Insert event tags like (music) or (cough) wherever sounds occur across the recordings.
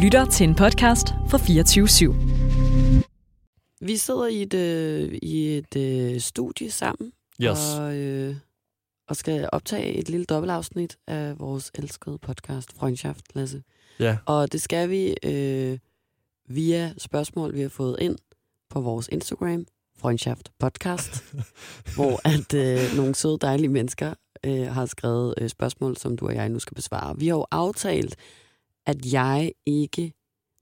lytter til en podcast fra 24 /7. Vi sidder i et, øh, i et øh, studie sammen Yes. og, øh, og skal optage et lille dobbeltafsnit af vores elskede podcast, Freundschaft, Lasse. Ja. Og det skal vi øh, via spørgsmål, vi har fået ind på vores Instagram, Freundschaft Podcast, hvor at øh, nogle søde, dejlige mennesker øh, har skrevet øh, spørgsmål, som du og jeg nu skal besvare. Vi har jo aftalt, at jeg ikke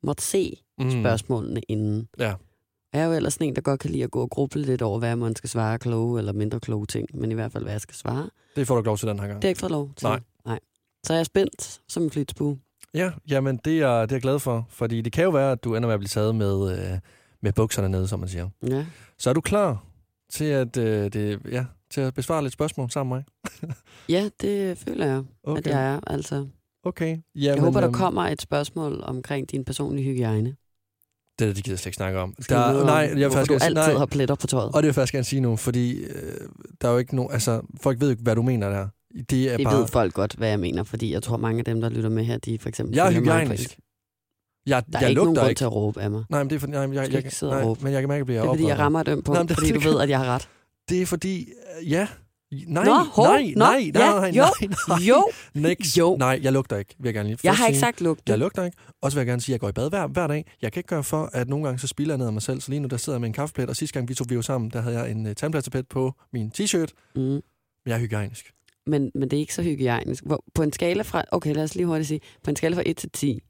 måtte se spørgsmålene inden. Mm. Ja. Og Jeg er jo ellers sådan en, der godt kan lide at gå og gruble lidt over, hvad man skal svare kloge eller mindre kloge ting, men i hvert fald, hvad jeg skal svare. Det Det får du ikke lov til den her gang. har jeg ikke fået lov til. Nej. Nej. Så er jeg spændt som en flytspue. Ja, jamen det er, det er jeg glad for, fordi det kan jo være, at du ender med at blive taget med, øh, med bukserne nede, som man siger. Ja. Så er du klar til at, øh, det, ja, til at besvare lidt spørgsmål sammen med mig? ja, det føler jeg, okay. at jeg er. Altså, jeg okay. Jamen, håber, der øhm, kommer et spørgsmål omkring din personlige hygiejne. Det er det, de gider jeg slet ikke snakke om. Skal vi vide om, nej, jeg vil hvorfor faktisk du gerne sige, altid nej, har pletter på tøjet. og det vil jeg faktisk gerne sige nu, fordi øh, der er jo ikke nogen, altså folk ved jo ikke, hvad du mener der. Det er Det bare, ved folk godt, hvad jeg mener, fordi jeg tror, mange af dem, der lytter med her, de for eksempel... jeg er følger mig hygiejnisk. kritisk. Jeg, Der er jeg ikke nogen lugter grund ikke. til at råbe af mig. Nej, men det er fordi, nej, men jeg, skal jeg, ikke jeg, sidde og nej, råbe. men jeg kan mærke, at jeg bliver Det er, fordi jeg oprørt. rammer et ømt punkt, Nej, men det- fordi du ved, at jeg har ret. Det er fordi, øh, ja. Nej, Nå, hov, nej, nå, nej, nej, ja, nej, jo, nej, nej. Jo, Next. jo. Nej, jeg lugter ikke, vil jeg gerne lige jeg først har ikke sige. sagt lugt. Jeg lugter ikke. Og så vil jeg gerne sige, at jeg går i bad hver, hver dag. Jeg kan ikke gøre for, at nogle gange så spilder jeg ned af mig selv. Så lige nu der sidder jeg med en kaffeplet, og sidste gang vi tog vi jo sammen, der havde jeg en uh, tandplatterplet på min t-shirt. Mm. Men jeg er hygiejnisk. men, men det er ikke så hygiejnisk. Hvor, på en skala fra, okay, lad os lige hurtigt sige, på en skala fra 1 til 10,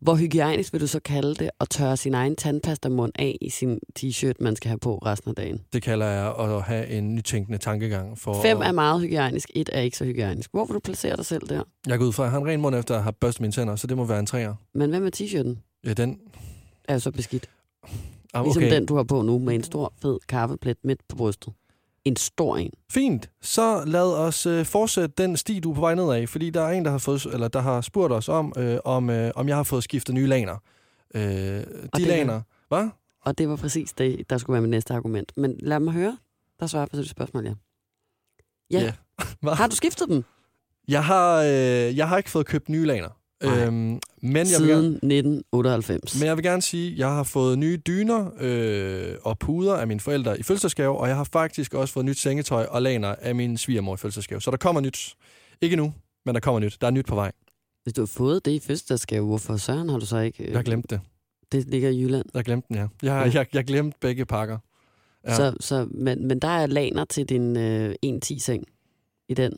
hvor hygiejnisk vil du så kalde det at tørre sin egen tandpastamund af i sin t-shirt, man skal have på resten af dagen? Det kalder jeg at have en nytænkende tankegang. For 5 er meget hygiejnisk, 1 er ikke så hygiejnisk. Hvor vil du placere dig selv der? Jeg går ud fra, at jeg har en ren mund efter at have børstet mine tænder, så det må være en træer. Men hvad med t-shirten? Ja, den... Er jo så beskidt. Ah, Ligesom okay. den, du har på nu, med en stor, fed kaffeplet midt på brystet. En stor en. Fint, så lad os øh, fortsætte den sti, du er på vej ned af, fordi der er en, der har, fået, eller der har spurgt os om, øh, om, øh, om jeg har fået skiftet nye laner. Øh, de det er- laner, hvad? Og det var præcis det, der skulle være mit næste argument. Men lad mig høre, der svarer på det spørgsmål, ja. Ja. Ja. Hva? Har du skiftet dem Jeg har, øh, jeg har ikke fået købt nye laner, Nej. øhm, men, jeg vil gerne, siden 1998? men jeg vil gerne sige, at jeg har fået nye dyner øh, og puder af mine forældre i fødselsdagsgave, og jeg har faktisk også fået nyt sengetøj og laner af min svigermor i fødselsdagsgave. Så der kommer nyt. Ikke nu, men der kommer nyt. Der er nyt på vej. Hvis du har fået det i fødselsdagsgave, hvorfor søren har du så ikke? øh, Jeg glemte det. Det ligger i Jylland. Jeg glemte den, ja. Jeg, jeg, jeg glemte begge pakker. Ja. Ja. Så, så, men, men der er laner til din øh, 1-10-seng i den,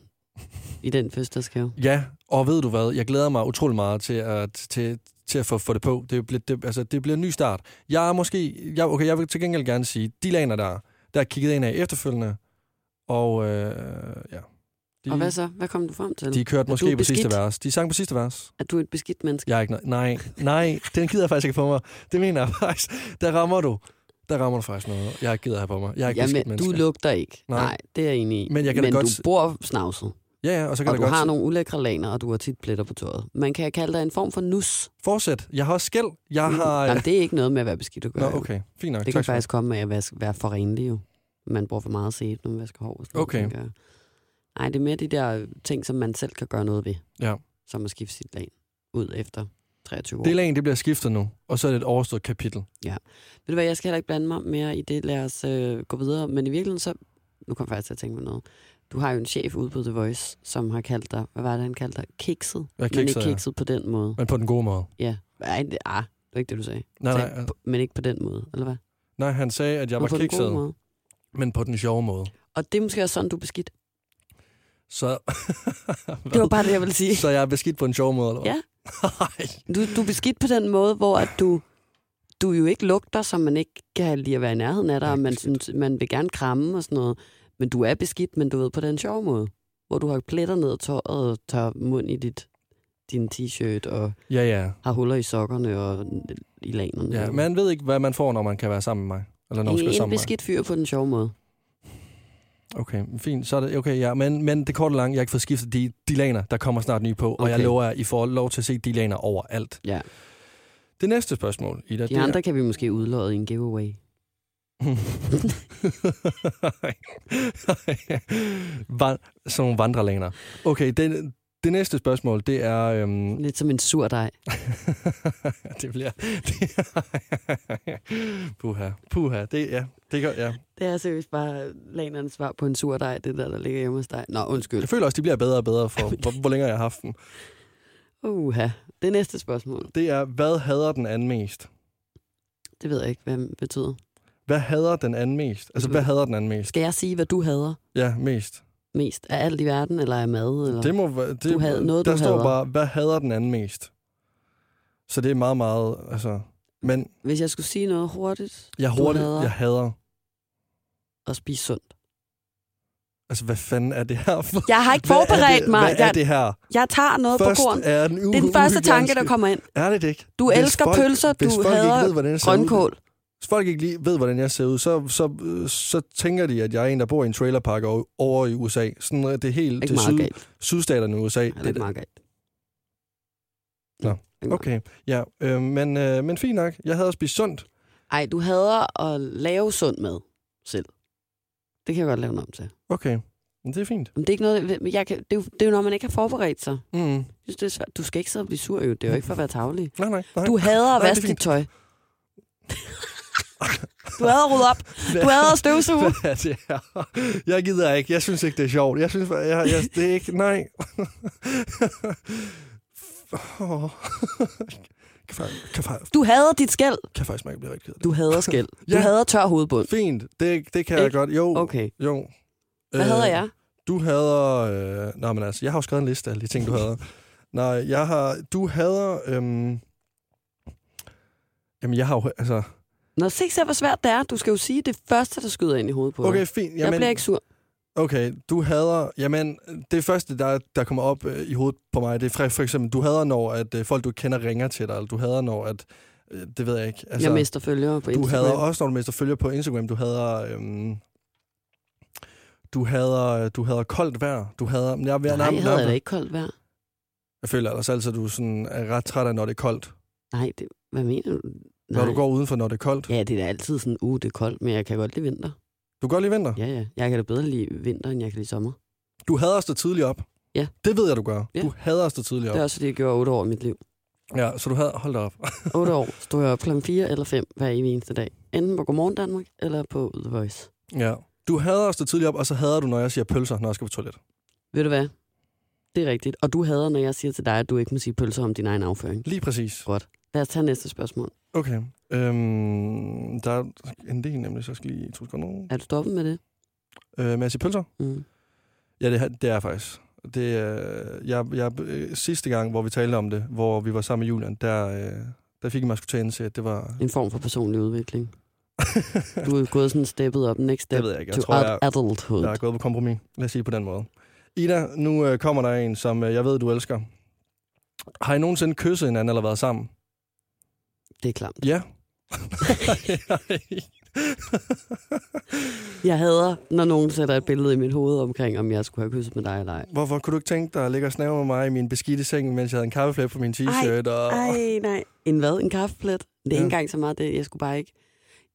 i den fødselsdagsgave. Ja, og ved du hvad, jeg glæder mig utrolig meget til at, til, til at få, få det på. Det bliver, det, altså, det bliver en ny start. Jeg er måske, jeg, okay, jeg vil til gengæld gerne sige, de laner der, er, der er kigget ind af efterfølgende, og øh, ja. Og hvad De, så? Hvad kom du frem til? de kørte du måske på beskidt? sidste vers. De sang på sidste vers. At du er et beskidt menneske? Jeg er ikke noget. Nej, nej, den gider jeg faktisk ikke på mig. Det mener jeg faktisk. Der rammer du. Der rammer du faktisk noget. Jeg gider have på mig. Jeg er ikke beskidt Jamen, du menneske. lugter ikke. Nej. Nej. Nej, det er jeg enig i. Men jeg kan da men godt du s- bor snavset, Ja, ja, og så kan og det du godt har nogle ulækre laner, og du har tit pletter på tøjet. Man kan kalde dig en form for nus. Fortsæt. Jeg har også skæld. Jeg har... Jamen, det er ikke noget med at være beskidt at gøre. Nå, okay. Fint nok. Mm, Det kan tak skal du have. faktisk komme af at vaske, være for renlig jo. Man bruger for meget sæbe, når man vasker hår. og sådan noget, Okay. tænker jeg. Nej, det er mere de der ting, som man selv kan gøre noget ved. Ja. Som at skifte sit lag ud efter 23 år. Det lag, det bliver skiftet nu, og så er det et overstået kapitel. Ved du hvad, jeg skal heller ikke blande mig mere i det. Lad os øh, gå videre. Men i virkeligheden så... Nu kommer jeg faktisk til at tænke på noget. Du har jo en chef ude på The Voice, som har kaldt dig... Hvad var det, han kaldte dig? Kikset. Jeg men kikser, ikke ja. kikset på den måde. Men på den gode måde. Ja. Nej, det, ah, det var ikke det, du sagde. Nej, Sagde, nej, "På- Men ikke på den måde, eller hvad? nej, han sagde, at jeg Men var på den gode kikset, måde. men på den sjove måde. Og det er måske også sådan, du er beskidt. Så, (laughs) Det var bare det, jeg ville sige. (laughs) så jeg er beskidt på en sjov måde, eller hvad? Ja. Nej. Du, du er beskidt på den måde, hvor at du, du jo ikke lugter, så man ikke kan lide at være i nærheden af dig, Jeg er og man, ikke beskidt. synes, man vil gerne kramme og sådan noget. Men du er beskidt, men du ved på den sjove måde, hvor du har pletter ned ad tøjet og tager mund i dit, din t-shirt og (laughs) ja, ja, har huller i sokkerne og i lanerne. ja. Man ved ikke, hvad man får, når man kan være sammen med mig. Eller når man skal være en, en sammen med mig. beskidt fyr på den sjove måde. Okay, fint. Så er det, okay, ja. Men, men det korte og lange, jeg har ikke fået skiftet de, de laner, der kommer snart nye på. Okay. Og jeg Okay. lover jer, I får lov til at se de laner overalt. Ja. Det næste spørgsmål, Ida, De andre kan vi måske udlåde i en giveaway. (laughs) Van- sådan nogle vandrelæner. Okay, den, Det næste spørgsmål, det er... Øhm, (laughs) Lidt som en sur dej. det bliver... (laughs) Det puha, puha. Det, ja, det gør, ja. Det er seriøst bare lanernes svar på en sur dej, det der, der ligger hjemme hos dig. Nå, undskyld. Jeg føler også, de bliver bedre og bedre, for hvor, hvor længere jeg har haft dem. Uha. Det næste spørgsmål, Det er, hvad hader den anden mest? det ved jeg ikke, hvad det betyder. Hvad hader den anden mest? Altså, hvad hader den anden mest? Skal jeg sige, hvad du hader Ja, mest. mest? Er alt i verden, eller er mad? Eller? Det må, være- det, Du havde- noget, der du står hader. bare, hvad hader den anden mest? Så det er meget, meget... Altså, men Hvis jeg skulle sige noget hurtigt, jeg du hurtigt, hader jeg hader... at spise sundt. Altså, hvad fanden er det her? For? Jeg har ikke Hvad er forberedt det, mig. Hvad er Jeg- det her? Jeg tager noget Først på korn. er den Det er den første tanke, der kommer ind. Er det det ikke? Du elsker pølser, hvis du folk hader ikke ved, hvordan jeg ser Ud, Grønkål. hvis folk ikke lige ved, hvordan jeg ser ud, så, så, øh, så tænker de, at jeg er en, der bor i en trailerpark over, over i USA. Sådan øh, det er helt Ikke til meget syd, galt. sydstaterne i USA. Eller ikke meget galt. Nå, Ikke meget. okay, ja, øh, men, øh, men fint nok. Jeg havde spist sundt. Ej, du hader at lave sund mad selv. Det kan jeg godt lave noget om til. Okay, men det er fint. Men det er ikke noget, men jeg kan, det, er jo, det er jo, når man ikke har forberedt sig. Mm. Jeg Synes, det er svært. Du skal ikke sidde og blive sur, jo. Det er jo ikke for at være tavlig. Nej, nej, nej. Du hader at Nej, det er vaske dit fint. tøj. Du hader at rydde op. Du (laughs) hader at støvsuge. Hvad er det her? Jeg gider ikke. Jeg synes ikke, det er sjovt. Jeg synes, jeg, jeg, det er ikke... Nej. Åh. (laughs) kan, faktisk, kan, faktisk, Du hader dit skæld. kan faktisk ikke blive rigtig ked af det. Du hader skæld. (laughs) Du Ja. hader tør hovedbund. Fint. Det, det kan jeg Ikke? godt. Jo. Okay. jo. Hvad Øh, hader jeg? Du hader... Øh, nej, men altså, jeg har jo skrevet en liste af alle de ting, du (laughs) hader. nej, jeg har... Du hader... Øhm, jamen, jeg har jo... Altså, Nå, se så, hvor svært det er. Du skal jo sige det første, der skyder ind i hovedet på okay, dig. fint. Jamen, Jeg bliver ikke sur. Okay, du hader... Jamen, det første, der, der kommer op øh, i hovedet på mig, det er for, for eksempel, du hader, når at, øh, folk, du ikke kender, ringer til dig, eller du hader, når at... Øh, det ved jeg ikke. Altså, jeg mister følgere på du Instagram. hader også, når du mister følger på Instagram. Du hader... Øhm, du hader, du hader koldt vejr. Du hader... men Jeg, jeg, Nej, jeg hader da ikke koldt vejr. jeg føler ellers altid, at du sådan er ret træt af, når det er koldt. Nej, det, hvad mener du? Nej. Når du går udenfor, når det er koldt. Ja, det er da altid sådan, uh, det er koldt, men jeg kan godt lide vinter. Du går lige vinter. Ja, ja. Jeg kan da bedre lide vinter, end jeg kan lide sommer. Du hader at stå tidligt op. Ja. Det ved jeg, du gør. Ja. Du hader at stå tidligt Ja. op. Det er også det, jeg gjorde otte år i mit liv. Ja, så du hader... Hold da op. Otte år stod jeg op klokken 4 eller 5 hver evig eneste dag. Enten på Godmorgen Danmark eller på The Voice. Ja. Du hader at stå tidligt op, og så hader du, når jeg siger pølser, når jeg skal på toilet. Ved du hvad? Det er rigtigt. Og du hader, når jeg siger til dig, at du ikke må sige pølser om din egen afføring. Lige præcis. Lad os tage næste spørgsmål. Okay. Øhm, der er en del nemlig, så jeg skal lige to sekunder. Er du stoppet med det? Øh, men jeg siger pølser? Mm. Ja, det, er- det er jeg faktisk. Det, øh, jeg, jeg, øh, sidste gang, hvor vi talte om det, hvor vi var sammen med Julian, der, øh, der fik jeg mig sgu til at indse, at det var... En form for personlig udvikling. Du er gået sådan steppet op, next step (laughs) det ved jeg ikke. to Jeg tror, jeg, adulthood. jeg er gået på kompromis. Lad os sige det på den måde. Ida, nu øh, kommer der en, som øh, jeg ved, du elsker. Har I nogensinde kysset hinanden eller været sammen? Det er klamt. Ja. (laughs) Jeg hader, når nogen sætter et billede i mit hoved omkring, om jeg skulle have kysset med dig eller ej. Hvorfor kunne du ikke tænke dig at ligge og snave med mig i min beskidte seng, mens jeg havde en kaffeflæb på min t-shirt? og... Ej, nej. En hvad? En kaffeplet? Det er ikke Ja. engang så meget det. Jeg skulle bare ikke...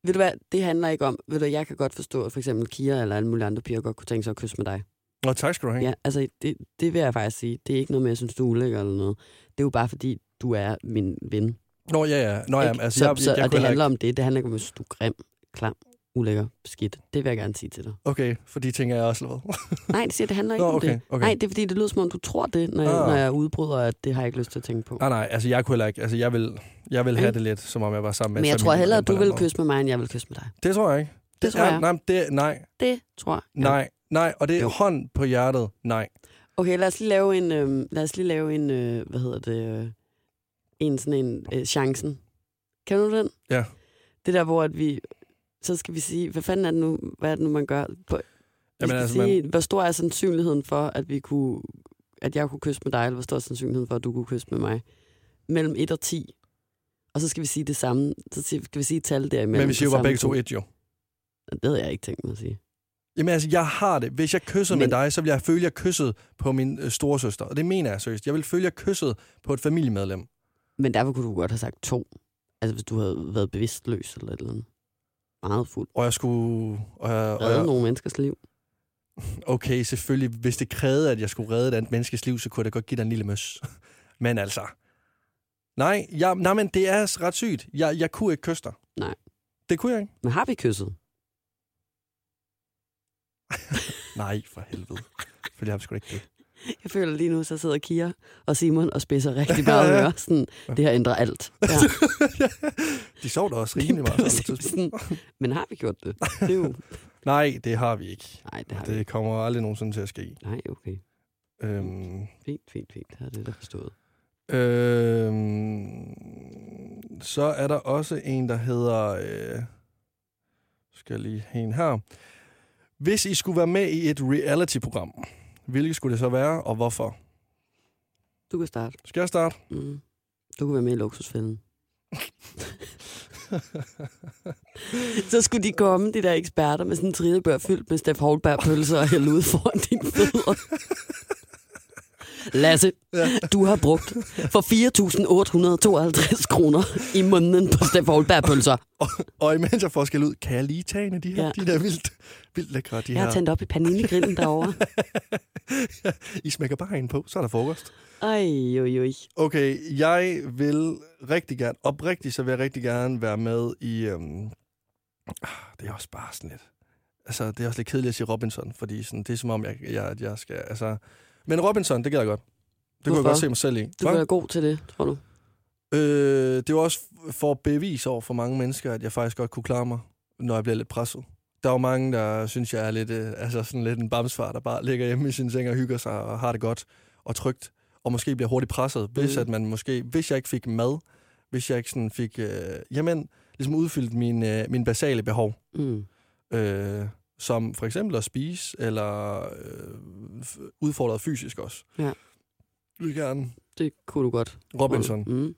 Ved du hvad, det handler ikke om... Ved du, hvad, jeg kan godt forstå, at for eksempel Kira eller alle mulige andre piger godt kunne tænke sig at kysse med dig. Nå, tak skal du have. Ja, altså, det, det vil jeg faktisk sige. Det er ikke noget med, at jeg synes, du er ulækker eller noget. Det er jo bare fordi, du er min ven. Nå, ja, ja. Nå, ja, ikke? altså, så, jeg, så, jeg, og jeg det kunne handler handler... om det. Det handler ikke om, at jeg synes, du er grim, klam, ulækker, skidt. Det vil jeg gerne sige til dig. Okay, for de ting er jeg også lavet. Nej, det siger, det handler ikke Nå, om okay, det. okay. Nej, det er fordi, det lyder som om, du tror det, når, jeg, Ah. når jeg udbryder, at det har jeg ikke lyst til at tænke på. Nej, nej, altså jeg kunne heller ikke. Altså jeg vil, jeg vil have det lidt, som om jeg var sammen med Men jeg familien tror på hellere, den at du måde. vil kysse med mig, end jeg vil kysse med dig. Det tror jeg ikke. Det, tror er- jeg. Nej, men det, nej, Det tror jeg. nej, nej. Og det er Jo. hånd på hjertet. Nej. Okay, lad os lige lave en, øh, lad os lige lave en øh, hvad hedder det, øh, en sådan en, øh, chancen. Kan du den? Ja. Det der, hvor at vi, så skal vi sige, hvad fanden er det nu, hvad er det nu, man gør? På, vi Jamen, skal altså, altså, sige, man... hvor stor er sandsynligheden for, at vi kunne, at jeg kunne kysse med dig, eller hvor stor er sandsynligheden for, at du kunne kysse med mig? Mellem 1 og 10. Og så skal vi sige det samme, så siger- skal vi sige et tal derimellem. men vi siger jo på bare samme begge to tid. et, jo. Det havde jeg ikke tænkt mig at sige. Jamen altså, jeg har det. Hvis jeg kysser men... med Men- dig, så vil jeg føle, at jeg kysset på min øh, storesøster. Og det mener jeg seriøst. Jeg vil føle, at jeg kysset på et familiemedlem. Men derfor kunne du godt have sagt to. Altså hvis du havde været bevidstløs eller et eller andet. Meget fuld. Og jeg skulle... Og jeg, og Redde jeg, nogle menneskers liv. okay, selvfølgelig, hvis det krævede, at jeg skulle redde et andet menneskes liv, så kunne jeg da godt give dig en lille møs. (laughs) Men altså, nej, jeg, nej men det er ret sygt. Jeg, jeg kunne ikke kysse dig. Nej. Det kunne jeg ikke. Men har vi kysset? Nej, for helvede. Fordi jeg har sgu da ikke det. (laughs) Jeg føler lige nu, så sidder Kira og Simon og spidser rigtig meget ører. Sådan, det her ændrer alt. Ja. De sov da (laughs) også rimelig meget. sammen på et tidspunkt. Sådan, Men har vi gjort det? det er jo... Nej, det har vi ikke. Nej, det har vi Det kommer aldrig nogensinde til at ske. Nej, okay. Øhm, Fint, fint, fint. Det har det der forstået. øhm, så er der også en, der hedder... Øh, skal jeg lige have en her. Hvis I skulle være med i et reality-program, hvilket skulle det så være, og hvorfor? Du kan starte. Skal jeg starte? Mm. Du kan være med i (laughs) luksusfælden. Så skulle de komme, de der eksperter, med sådan en trillebør fyldt med Steff Holberg-pølser og hælde ud foran dine fødder. (laughs) Lasse, ja. du har brugt for 4.852 kroner i måneden på Steff Holberg-pølser. og, og imens jeg får skal ud, kan jeg lige tage en af de her, Ja. ja. de der vildt, vildt lækre, de Jeg har her. tændt op i paninegrillen derovre. (laughs) I smækker bare en på, så er der frokost. Ej, jo, jo. Okay, jeg vil rigtig gerne, oprigtigt så vil jeg rigtig gerne være med i, øhm, ah, det er også bare sådan lidt, altså det er også lidt kedeligt at sige Robinson, fordi sådan, det er som om, jeg, jeg, at jeg skal, altså, men Robinson, det gad jeg godt. Det kunne jeg Hvorfor? godt se mig selv i. Du er god til det, tror du. Øh, det var også for at bevise over for mange mennesker, at jeg faktisk godt kunne klare mig, når jeg bliver lidt presset. Der er jo mange, der synes, jeg er lidt, øh, altså sådan lidt en bamsfar, der bare ligger hjemme i sin seng og hygger sig og har det godt og trygt, og måske bliver hurtigt presset, hvis, Mm. at man måske, hvis jeg ikke fik mad, hvis jeg ikke sådan fik, øh, jamen, ligesom udfyldt mine, øh, mine basale behov, Mm. øh, som for eksempel at spise, eller øh, f- udfordret fysisk også. Ja. Jeg vil gerne. Det kunne du godt. Robinson. Mm.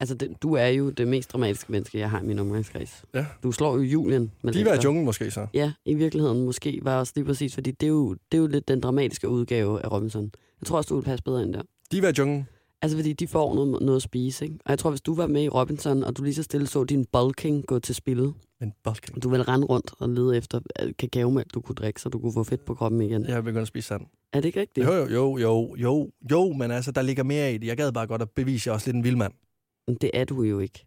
Altså, det, du er jo det mest dramatiske menneske, jeg har i min omgangskreds. Ja. Du slår jo Julian. Med De var i junglen måske så. Ja, i virkeligheden måske var også lige præcis, fordi det er, jo, det er jo lidt den dramatiske udgave af Robinson. Jeg tror også, du ville passe bedre ind der. De var i junglen. Altså, fordi de får noget, noget at spise, ikke? Og jeg tror, hvis du var med i Robinson, og du lige så stille så din bulking gå til spillet, Men bulking. du ville rende rundt og lede efter øh, kakaomælk, du kunne drikke, så du kunne få fedt på kroppen igen. Ja. Jeg er begyndt at spise sand. Er det ikke rigtigt? Jo, jo, jo, jo, jo, jo, men altså, der ligger mere i det. Jeg gad bare godt at bevise, at jeg er også lidt en vild mand. Men det er du jo ikke.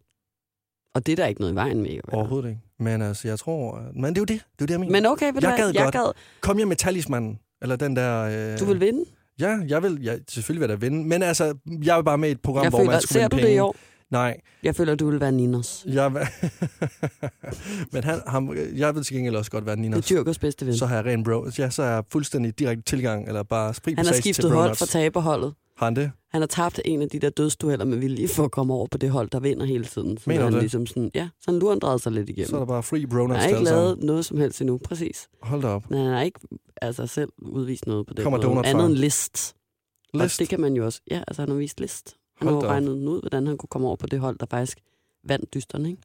Og det er der ikke noget i vejen med. at være. Overhovedet ikke. Men altså, jeg tror... at- Men det er jo det. Det er jo det, jeg mener. Men... Men okay, ved du Jeg hvad? gad jeg godt. gad. Kom hjem med talismanen. Eller den der... Øh... Du vil vinde? Ja, jeg vil. Ja, selvfølgelig vil jeg da vinde. Men altså, jeg vil bare med i et program, jeg hvor føler, man skal ser vinde du penge. det i år? Nej. Jeg føler, du vil være Ninos. Jeg... vil- (laughs) men han, ham, jeg vil til gengæld også godt være Det er Ninos. Tyrkers bedste ven. Så har jeg ren bro. Ja, så er jeg fuldstændig direkte tilgang, eller bare fri Han har passage til skiftet hold bronuts. fra taberholdet. Har han det? Han har tabt en af de der dødsdueller med vilje for at komme over på det hold, der vinder hele tiden. Så Mener du han det? Ligesom sådan, ja, så han lurendrede sig lidt igennem. Så er der bare free han bronuts har til ikke alle sammen. lavet noget som helst endnu, præcis. Hold da op. Men han har ikke altså, selv udvist noget på det Kommer måde. donutfaren? Andet end list. List. Og det kan man jo også. Ja, altså han har vist list. Han Hold har da jo op. regnet den ud, hvordan han kunne komme over på det hold, der faktisk vandt dysterne. Ikke?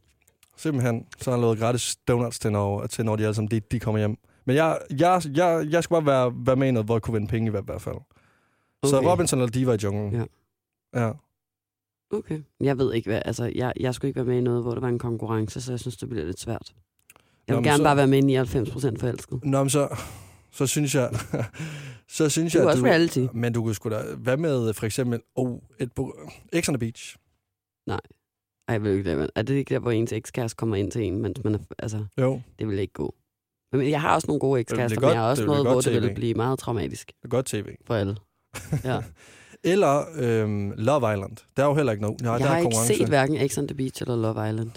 Simpelthen. Så har han lavet gratis donuts til når, til når de alle sammen de, de kommer hjem. Men jeg, jeg, jeg, jeg skal bare være, være med i noget, hvor jeg kunne vinde penge i hvert, hvert fald. Okay. Så Okay. Robinson eller Diva i junglen. Ja. ja. Okay. Jeg ved ikke, hvad, altså, jeg, jeg skulle ikke være med i noget, hvor der var en konkurrence, så jeg synes, det bliver lidt svært. Jeg Nå, vil men gerne så- bare være med i 99 procent forelsket. Nå, men så, så synes jeg... (laughs) så synes Det er jeg, jo at også reality. Men du kunne sgu da... Hvad med for eksempel... Oh, et bo, X on the Beach. Ej, jeg vil ikke det. Er det ikke der, hvor ens ekskæreste kommer ind til en, mens man er, altså, Jo, det det vil ikke gå. Men jeg har også nogle gode bliver ekskærester, men godt- jeg har også det bliver noget, hvor godt det ville TV. blive meget traumatisk er godt tv. for alle. Ja. Eller øhm, Love Island. Der er jo heller ikke nogen... Nej, der jeg har er ikke konkurrence. set hverken X on the Beach eller Love Island.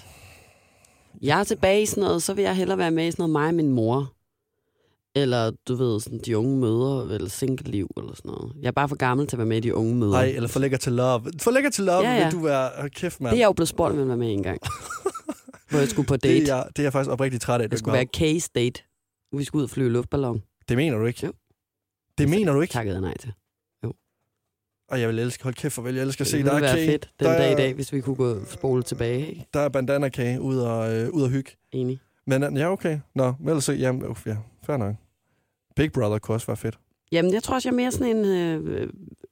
Jeg er tilbage i sådan noget, så vil jeg hellere være med i sådan noget mig og min mor. Eller, du ved, sådan de unge mødre, eller single-liv, eller sådan noget. Jeg er bare for gammel til at være med i de unge mødre. Nej, eller for lækker til love. For lækker til love, Ja, ja, ja. ja. vil du være... Hold Kæft, mand. Det er jeg jo blevet spurgt, om jeg ville være med en (laughs) gang. hvor jeg skulle på date. det, er jeg, det er jeg faktisk oprigtigt træt af. du jeg ikke skulle var. være case date. Vi skulle ud og flyve i luftballon. Det mener du ikke? Jo. Altså, Det mener du ikke? Takkede jeg nej til. Og jeg vil elske, hold kæft for vel, jeg elsker at se, det der ville er være kage, fedt den der dag i er- dag, hvis vi kunne gå spole tilbage. Ikke? der er bandana kage ud og, øh, ud og hygge. Enig. Men øh, ja, okay. Nå, men ellers så, jamen, uff, ja, fair nok. Big Brother kunne også være fedt. Jamen, jeg tror også, jeg er mere sådan en... Øh,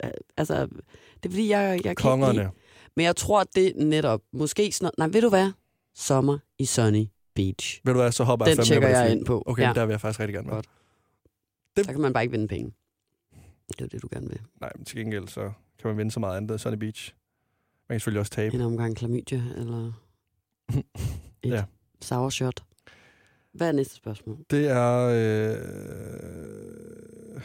øh, altså, det er fordi, jeg, jeg kan ikke lide- Kongerne. Men jeg tror, det er netop... Måske sådan noget- Nej, ved du hvad? Sommer i Sunny Beach. Vil du være, så hopper Den fandme tjekker med på det jeg fly. ind på. Okay, ja. ja. der vil jeg faktisk rigtig gerne med. Godt. Det- Så kan man bare ikke vinde penge. Det er jo det, du gerne vil. Nej, men til gengæld, så kan man vinde så meget andet. Sunny Beach. Man kan selvfølgelig også tabe. En omgang klamydia (laughs) eller et Ja. ja. sour shot. Hvad er næste spørgsmål? Det er... Øh...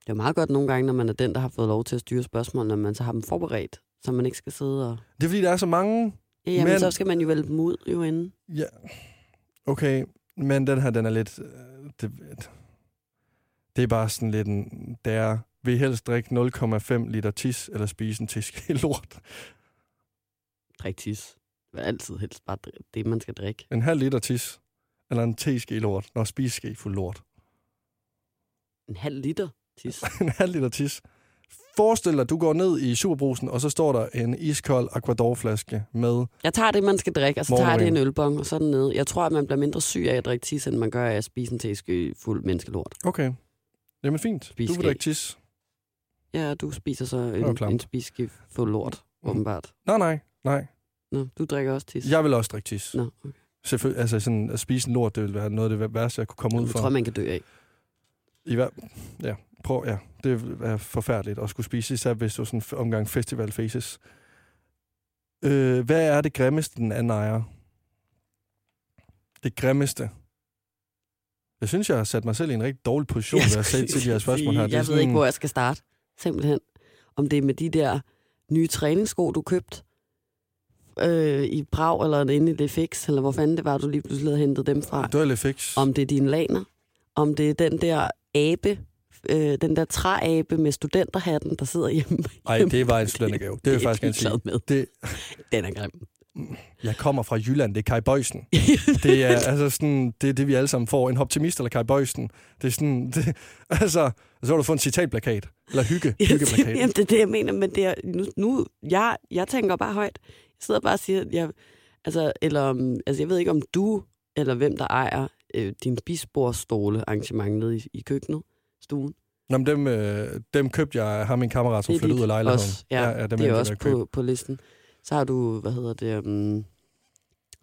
Det er jo meget godt nogle gange, når man er den, der har fået lov til at styre spørgsmål, når man så har dem forberedt, så man ikke skal sidde og... Det er fordi, der er så mange... Ja, jamen, Men- men... så skal man jo vælge dem ud jo inden. Ja. Okay, men den her, den er lidt... øh, Det, det er bare sådan lidt en... Det er, vil I helst drikke 0,5 liter tis, eller spise en teske lort? (laughs) Drik tis. Det er altid helst bare dri- det, man skal drikke. En halv liter tis, eller en teske lort? Nå, spise ske fuld lort. (laughs) En halv liter tis. En halv liter tis. Forestil dig, du går ned i superbrusen, og så står der en iskold Aquador-flaske med... Jeg tager det, man skal drikke, og så tager jeg det Morgenbryn. en ølbong, og så er den nede. Jeg tror, at man bliver mindre syg af at drikke tis, end man gør af at spise en teske fuld menneskelort. Okay. Jamen fint. Spise du vil ske. drikke tis. Ja, du spiser så Det var en, klamt. en spiske fuld lort, Mm. åbenbart. Nej, nej, nej. Nå, du drikker også tis. Jeg vil også drikke tis. Nå, okay. Selvfølgelig, altså sådan, at spise en lort, det ville være noget af det værste, jeg kunne komme ud Jamen, det for. tror jeg, man kan dø af. I hver... Ja, prøv, ja. Det er forfærdeligt at skulle spise, især hvis du er sådan en omgang festivalfaces. Øh, hvad er det grimmeste, den anden ejer? Det grimmeste. Jeg synes, jeg har sat mig selv i en rigtig dårlig position, (laughs) ved at sætte til de her spørgsmål her. Det er Jeg ved sådan- ikke, hvor jeg skal starte. Simpelthen. Om det er med de der nye træningssko, du købte øh, i Prag, eller inde i det fix, eller hvor fanden det var, du lige pludselig havde hentet dem fra. Det var lidt fix. Om det er dine laner. Om det er den der abe, øh, den der træabe med studenterhatten, der sidder hjemme. Nej, det (laughs) var en studentergave. Det vil jeg er faktisk gerne sige. ligeglad med. Det, Den er grim. jeg kommer fra Jylland, det er Kai Bøjsen. (laughs) Det er (laughs) altså sådan, det, er det vi alle sammen får. En optimist eller Kai Bøjsen. Det er sådan, (laughs) det, altså, så har du fået en citatplakat. Eller hygge, hyggeplakat. Jamen, det er det, jeg mener, men det er, nu, nu jeg, jeg tænker bare højt. Jeg sidder bare og siger, jeg, altså, eller, om- altså, jeg ved ikke, om du eller hvem, der ejer øh, din bisporstole arrangement nede i, i køkkenet, stuen. Nå, men dem, øh, dem købte jeg, har min kammerat, som Det er flyttede dit ud af lejligheden. også, ja. dem det endte er jeg også med at købe. på, på listen. Så har du, hvad hedder det, um,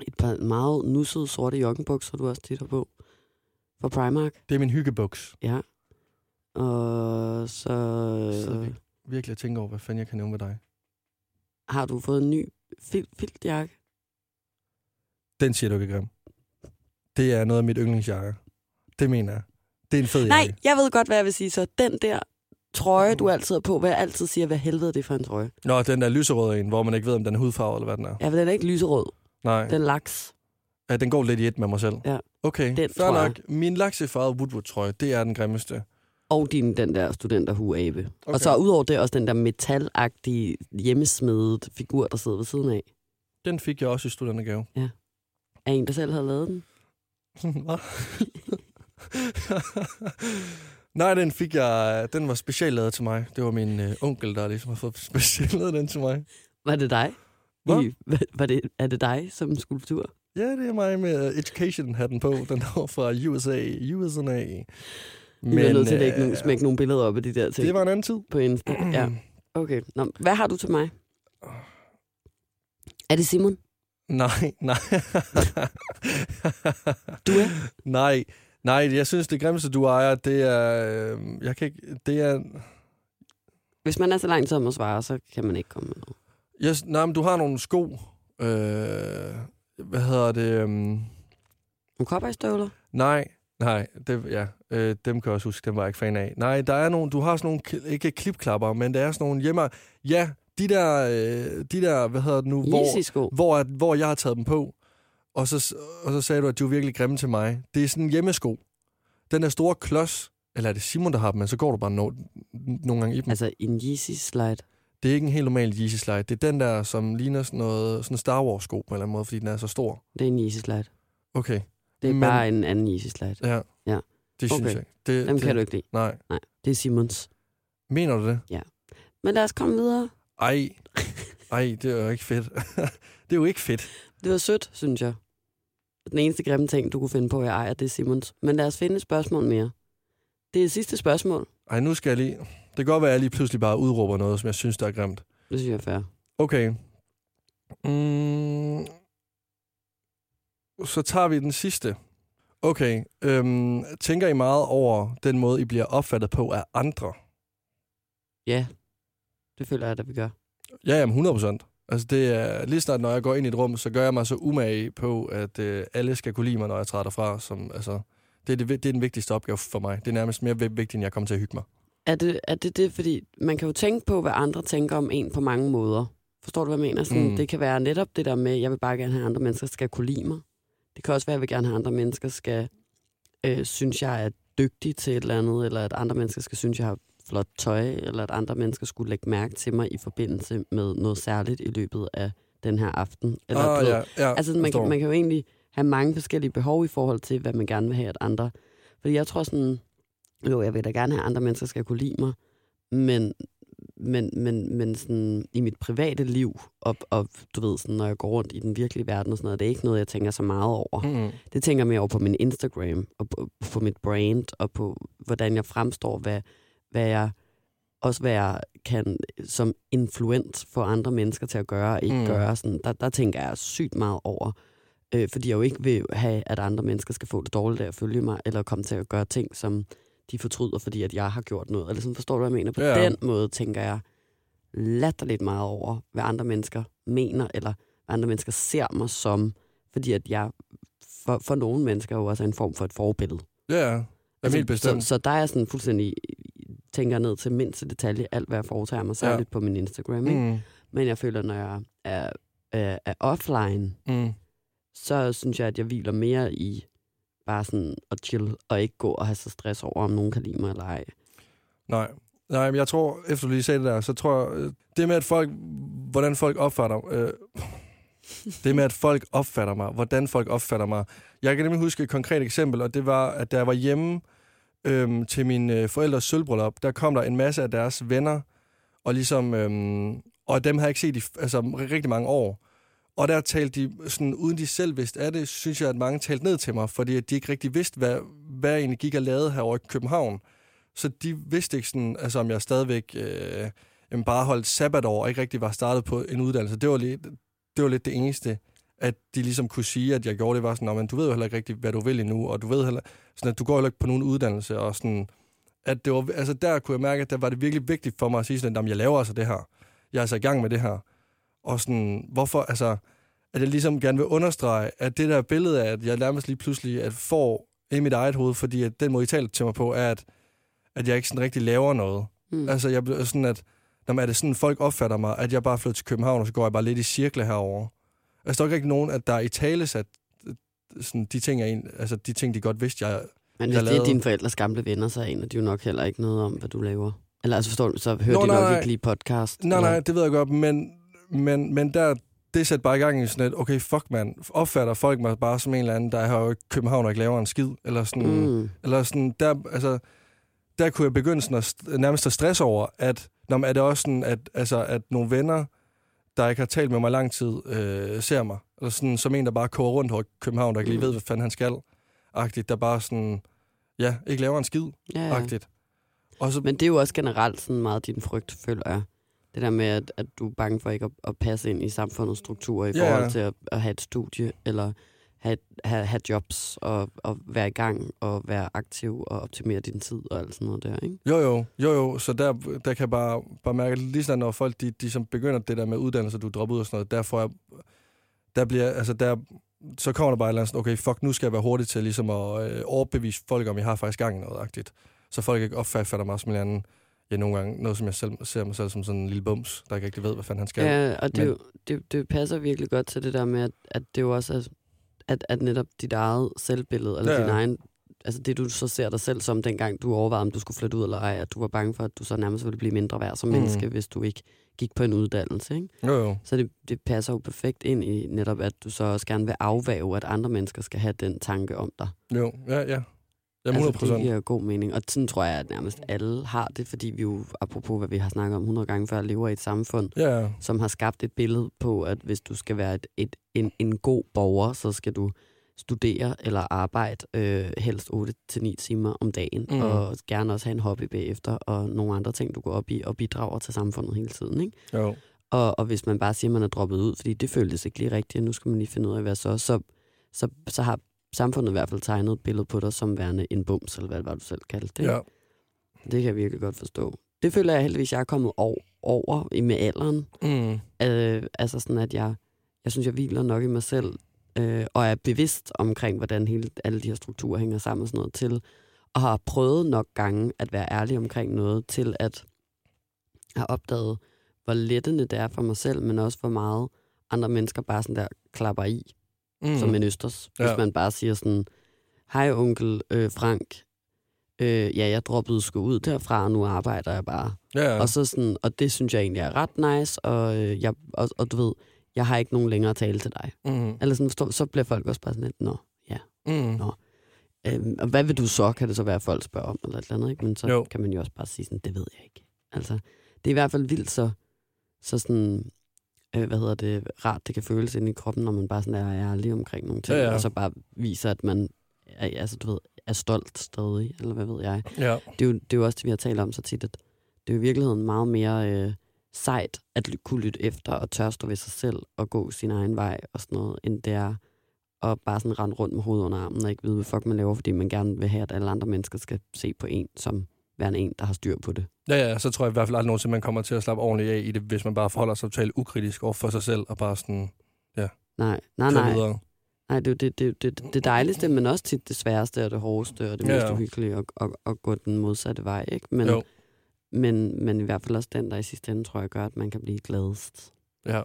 et par meget nussede sorte joggenbukser, du også tit har på, fra Primark. Det er min hyggebuks. Ja. Og så, Øh. Så er det Virkelig at tænke over, hvad fanden jeg kan nævne med dig. har du fået en ny fil- filtjakke. Den siger du ikke grim. Det er noget af mit yndlingsjakke. Det mener jeg. Det er en fed Nej, jakke. jeg ved godt, hvad jeg vil sige. Så den der trøje, du altid har på, hvad jeg altid siger, hvad helvede er det for en trøje? Nå, den der lyserøde en, hvor man ikke ved, om den er hudfarvet eller hvad den er. Ja, for den er ikke lyserød. Nej. Den er laks. Ja, den går lidt i et med mig selv. Ja. Okay, Den fair tror jeg. nok. Min laksefarvede Woodward-trøje, det er den grimmeste. Og din, den der studenterhue-abe. Okay. Okay. Og så udover det også den der metalagtige hjemmesmedet figur, der sidder ved siden af. Den fik jeg også i studentergave. Af en, der selv havde lavet den. (laughs) Hvad? (laughs) Nej, den fik jeg... Den var speciallavet til mig. Det var min øh, onkel, der ligesom har fået (laughs) speciallavet den til mig. Var det dig? Hvad? I, (laughs) var, var det, er det dig som skulptur? Ja, det er mig med øh, education-hatten på. Den var fra USA. USA. Men, Men, I er nødt til at øh, lægge nogle, smække nogle billeder op af de der ting det var en anden tid. på Insta. (clears throat) Ja, okay. Nå, hvad har du til mig? Er det Simon? (clears throat) Nej, nej. (laughs) Du er? Nej, nej, jeg synes, det grimmeste, du ejer, det er... Øh, jeg kan ikke... Det er... Hvis man er så langt som at svare, så kan man ikke komme med noget. Yes, nej, men du har nogle sko. Øh, hvad hedder det? øhm, Nogle cowboystøvler? nej, nej, det, ja, øh, dem kan jeg også huske, dem var jeg ikke fan af. Nej, der er nogle, du har sådan nogle, k- ikke klipklapper, men der er sådan nogle hjemme... Ja, de der, øh, de der, hvad hedder det nu, hvor, Yeezy-sko? hvor, at- hvor jeg har taget dem på, og så, s- og så sagde du, at de var virkelig grimme til mig. Det er sådan en hjemmesko. Den der store klods, eller er det Simon, der har dem, men så går du bare no, nogle gange i dem. Altså en Yeezy-slide. Det er ikke en helt normal Yeezy Slide. Det er den der, som ligner sådan noget sådan en Star Wars sko på en eller anden måde, fordi den er så stor. Det er en Yeezy-slide. Okay, Det er Men- Men... bare en anden Yeezy-slide. ja. Ja. Det synes Okay. jeg ikke. Det, Dem Øh, det, kan du ikke lide. Nej. Det er Simons. Mener du det? Men lad os komme videre. (laughs) Ej. Ej, det er jo ikke fedt. (laughs) det er jo ikke fedt. Det var sødt, synes jeg. Den eneste grimme ting, du kunne finde på, jeg ejer, det er Simons. Men lad os finde et spørgsmål mere. Det er det sidste spørgsmål, Ej, nu skal jeg lige... Det kan godt være, at jeg lige pludselig bare udråber noget, som jeg synes, der er grimt. det synes jeg er fair. Okay. Mm. Så tager vi den sidste. Okay, øhm, tænker I meget over den måde, I bliver opfattet på af andre? Ja, det føler jeg, at vi gør. Ja, jamen 100 procent. Altså det er, lige snart når jeg går ind i et rum, så gør jeg mig så umage på, at øh, alle skal kunne lide mig, når jeg træder fra. Som, altså, det, er det, vi- det er den vigtigste opgave for mig. Det er nærmest mere vi- vigtigt, end jeg kommer til at hygge mig. Er det, er det det, fordi man kan jo tænke på, hvad andre tænker om en på mange måder. Forstår du, hvad jeg mener? Sådan, Mm. mm. Det kan være netop det der med, jeg vil bare gerne have, at andre mennesker skal kunne lide mig. Det kan også være, at jeg vil gerne have, at andre mennesker skal øh, synes, jeg er dygtig til et eller andet, eller at andre mennesker skal synes, jeg har flot tøj, eller at andre mennesker skulle lægge mærke til mig i forbindelse med noget særligt i løbet af den her aften. Eller, du ah, ved, ja, ja, Altså, man forstår. kan, man kan jo egentlig have mange forskellige behov i forhold til, hvad man gerne vil have, at andre... Fordi jeg tror sådan, jo, jeg vil da gerne have, at andre mennesker skal kunne lide mig, men, men, men, men sådan, i mit private liv, og, og du ved, sådan, når jeg går rundt i den virkelige verden og sådan noget, det er ikke noget, jeg tænker så meget over. Mm. Det tænker jeg mere over på min Instagram, og på, på mit brand, og på, hvordan jeg fremstår, hvad, hvad jeg også hvad jeg kan som influent få andre mennesker til at gøre og ikke Mm. mm. gøre. Sådan, der, der tænker jeg sygt meget over, øh, fordi jeg jo ikke vil have, at andre mennesker skal få det dårligt af at følge mig, eller komme til at gøre ting, som de fortryder, fordi at jeg har gjort noget. Eller sådan, forstår du, hvad jeg mener? På Ja. den måde tænker jeg latterligt meget over, hvad andre mennesker mener, eller hvad andre mennesker ser mig som, fordi at jeg for, for nogle mennesker jo også er en form for et forbillede. Altså, Ja, ja. Jamen, helt så, bestemt. så der er jeg sådan fuldstændig tænker ned til mindste detalje alt, hvad jeg foretager mig, særligt ja. på min Instagram. Ikke? Mm. Mm. Men jeg føler, når jeg er, er, er offline, Mm. så synes jeg, at jeg hviler mere i bare sådan at chill, og ikke gå og have så stress over, om nogen kan lide mig eller ej. Nej. Nej, men jeg tror, efter du lige sagde det der, så tror jeg, øh, det med, at folk, hvordan folk opfatter, øh, (laughs) det med, at folk opfatter mig, hvordan folk opfatter mig. Jeg kan nemlig huske et konkret eksempel, og det var, at da jeg var hjemme øhm, til mine øh, forældres sølvbrøllup, der kom der en masse af deres venner, og ligesom, øhm, og dem har jeg ikke set i f- altså, rigtig mange år. Og der talte de, sådan, uden de selv vidste af det, synes jeg, at mange talte ned til mig, fordi at de ikke rigtig vidste, hvad, hvad jeg egentlig gik og lavede herovre i København. Så de vidste ikke sådan, altså om jeg stadigvæk øh, jamen, bare holdt sabbatår og ikke rigtig var startet på en uddannelse. Det var lidt det, var lidt det eneste, at de ligesom kunne sige, at jeg gjorde det, var sådan, "Nå, men du ved jo heller ikke rigtig, hvad du vil endnu, og du ved heller, sådan, at du går heller ikke på nogen uddannelse, og sådan, at det var, altså der kunne jeg mærke, at der var det virkelig vigtigt for mig at sige sådan, at jeg laver altså det her. Jeg er altså i gang med det her. Og sådan, hvorfor, altså, at jeg ligesom gerne vil understrege, at det der billede af, at jeg nærmest lige pludselig at får i mit eget hoved, fordi at den måde, I taler til mig på, er, at, at jeg ikke sådan rigtig laver noget. Mm. Altså, jeg bliver sådan, at når man er det sådan, folk opfatter mig, at jeg bare flytter til København, og så går jeg bare lidt i cirkler herover. Altså, der er jo ikke rigtig nogen, at der er i tale sat øh, sådan de ting, jeg, en- altså, de ting, de godt vidste, jeg... Men Jeg hvis det er lavede- dine forældres gamle venner, så aner de jo nok heller ikke noget om, hvad du laver. Eller altså forstår du, så hører Nå, de nej, nok nej. ikke lige podcast. Nej, eller- nej, det ved jeg godt, men, men, men der, det satte bare i gang i sådan et, okay, fuck man, opfatter folk mig bare som en eller anden, der har jo ikke København og ikke laver en skid, eller sådan... Mm. Eller sådan, der, altså, der kunne jeg begynde sådan at, st- nærmest at stress over, at når man er det også sådan, at, altså, at nogle venner, der ikke har talt med mig i lang tid, øh, ser mig. Eller sådan, som en, der bare koger rundt over i København, der ikke lige Mm. ved, hvad fanden han skal. Agtigt, der bare sådan, ja, ikke laver en skid. Ja, ja. Agtigt. Og så, Men det er jo også generelt sådan meget din frygt, føler jeg. Det der med, at, at du er bange for ikke at, at passe ind i samfundets strukturer i Ja, ja. forhold til at, at have et studie, eller have, have, have jobs, og, og være i gang, og være aktiv, og optimere din tid, og alt sådan noget der, ikke? Jo, jo, jo, jo. Så der, der kan jeg bare, bare mærke, at lige sådan, når folk de, de som begynder det der med uddannelse, du dropper ud og sådan noget, der får jeg, der bliver, altså der, så kommer der bare et eller andet sådan, okay, fuck, nu skal jeg være hurtig til ligesom at øh, overbevise folk, om jeg har faktisk gang i noget -agtigt. Så folk ikke opfatter mig som en eller anden, ja, nogle gange noget, som jeg selv ser mig selv som sådan en lille bums, der ikke rigtig ved, hvad fanden han skal. Ja, og det, men- men... det, det passer virkelig godt til det der med, at, at det jo også er, at, at netop dit eget selvbillede, eller Ja, ja. ja. din egen, altså det du så ser dig selv som, dengang du overvejede, om du skulle flytte ud eller ej, at du var bange for, at du så nærmest ville blive mindre værd som Mm. menneske, hvis du ikke gik på en uddannelse, ikke? Jo, jo. Så det, det passer jo perfekt ind i netop, at du så også gerne vil afvæve, at andre mennesker skal have den tanke om dig. Jo, ja, ja. Jamen, 100 Altså, det procent. giver jo god mening, og sådan tror jeg, at nærmest alle har det, fordi vi jo, apropos hvad vi har snakket om 100 gange før, lever i et samfund, Ja, som har skabt et billede på, at hvis du skal være et, et, en, en god borger, så skal du studere eller arbejde øh, helst 8-9 timer om dagen, Mm. mm. og gerne også have en hobby bagefter, og nogle andre ting, du går op i, og bidrager til samfundet hele tiden. Ikke? jo. Og, og hvis man bare siger, at man er droppet ud, fordi det føltes ikke lige rigtigt, og nu skal man lige finde ud af, hvad så, så, så, så har samfundet i hvert fald tegnet et billede på dig som værende en bums, eller hvad det var, du selv kaldte det. Ja. Det kan jeg virkelig godt forstå. Det føler jeg heldigvis, jeg er kommet over, over i- med alderen. Mm. Øh, altså sådan, at jeg, jeg synes, jeg hviler nok i mig selv, øh, og er bevidst omkring, hvordan hele, alle de her strukturer hænger sammen og sådan noget til, og har prøvet nok gange at være ærlig omkring noget, til at have opdaget, hvor lettende det er for mig selv, men også hvor meget andre mennesker bare sådan der klapper i Mm. som en østers. Hvis Ja. man bare siger sådan, hej onkel øh, Frank, øh, ja, jeg droppede sgu ud derfra, og nu arbejder jeg bare. ja. Ja. Og, så sådan, og det synes jeg egentlig er ret nice, og, øh, jeg, og, og du ved, jeg har ikke nogen længere tale til dig. Mm. Eller sådan, forstår, så bliver folk også bare sådan lidt, nå, Mm. øhm, og hvad vil du så, kan det så være, at folk spørger om, eller et eller andet, ikke? Men så Jo. jo. kan man jo også bare sige sådan, det ved jeg ikke. Altså, det er i hvert fald vildt så, så sådan, øh, hvad hedder det, rart det kan føles inde i kroppen, når man bare sådan er ærlig omkring nogle ting, Ja, ja. og så bare viser, at man er, altså, du ved, er stolt stadig, eller hvad ved jeg Ja. det er, jo, det er jo også det, vi har talt om så tit, at det er jo i virkeligheden meget mere øh, sejt at ly- kunne lytte efter og tør stå ved sig selv og gå sin egen vej og sådan noget, end det er at bare sådan rende rundt med hovedet under armen og ikke vide, hvad fuck man laver, fordi man gerne vil have, at alle andre mennesker skal se på en som værende en, der har styr på det. Ja, ja, så tror jeg i hvert fald aldrig nogensinde, man kommer til at slappe ordentligt af i det, hvis man bare forholder sig totalt ukritisk over for sig selv, og bare sådan, Nej, nej, kører nej. videre. nej det, er jo det, det, det, det, det dejligste, men også tit det sværeste og det hårdeste og det Ja, mest ja. uhyggelige at, at, at gå den modsatte vej. Ikke? Men, Jo, men, men i hvert fald også den, der i sidste ende, tror jeg, gør, at man kan blive gladest. ja,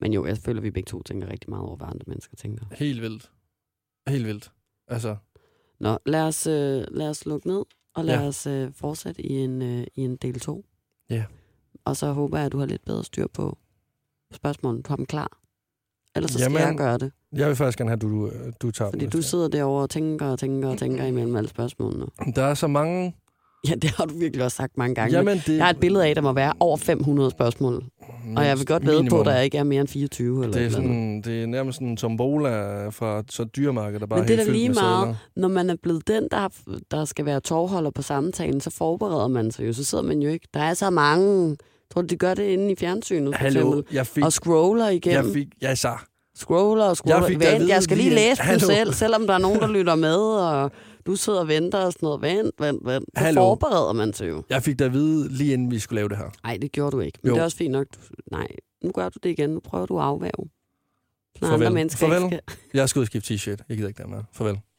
Men jo, jeg føler, at vi begge to tænker rigtig meget over, hvad andre mennesker tænker. helt vildt. Helt vildt. Altså, Nå, lad os, øh, lad os lukke ned, og lad Ja. ja. os øh, fortsætte i en, øh, i en del 2. Ja. Og så håber jeg, at du har lidt bedre styr på spørgsmålene. Du har dem klar. Ellers så skal Jamen, jeg gøre det. jeg vil faktisk gerne have, at du, øh, du tager Fordi den du næste sidder derovre og tænker og tænker og tænker imellem alle spørgsmålene. gang. Der er så mange... Ja, det har du virkelig også sagt mange gange. Jamen, Jamen, det... jeg har et billede af, at der må være over 500 spørgsmål. Og jeg vil godt vide på, at der ikke er mere end 24 eller Det et er, eller andet. sådan, det er nærmest sådan en tombola fra så et dyremarked, der bare Men det er helt da fyldt lige med meget. sedler. når man er blevet den, der, har- der skal være tovholder på samtalen, så forbereder man sig jo. Så sidder man jo ikke. Der er så mange. Tror du, de gør det inde i fjernsynet? for Hallo, eksempel? jeg fik... Og scroller Jeg igennem. Jeg fik, fik... Ja, så. scroller og scroller. Jeg Jeg, fik da at Vent, vide jeg skal lige lige- læse den Hallo. selv, selvom der er nogen, der lytter med, og du sidder og venter og sådan noget. Vent, vent, vent. Så Hallo. forbereder man sig jo. Jeg fik da at vide, lige inden vi skulle lave det her. Nej, det gjorde du ikke. Men Jo. jo. det er også fint nok. Du, nej, nu gør du det igen. Nu prøver du at afvæve. Så Farvel. andre mennesker Farvel. Ikke skal. Jeg skal ud og skifte t-shirt. Jeg gider ikke der med. Farvel.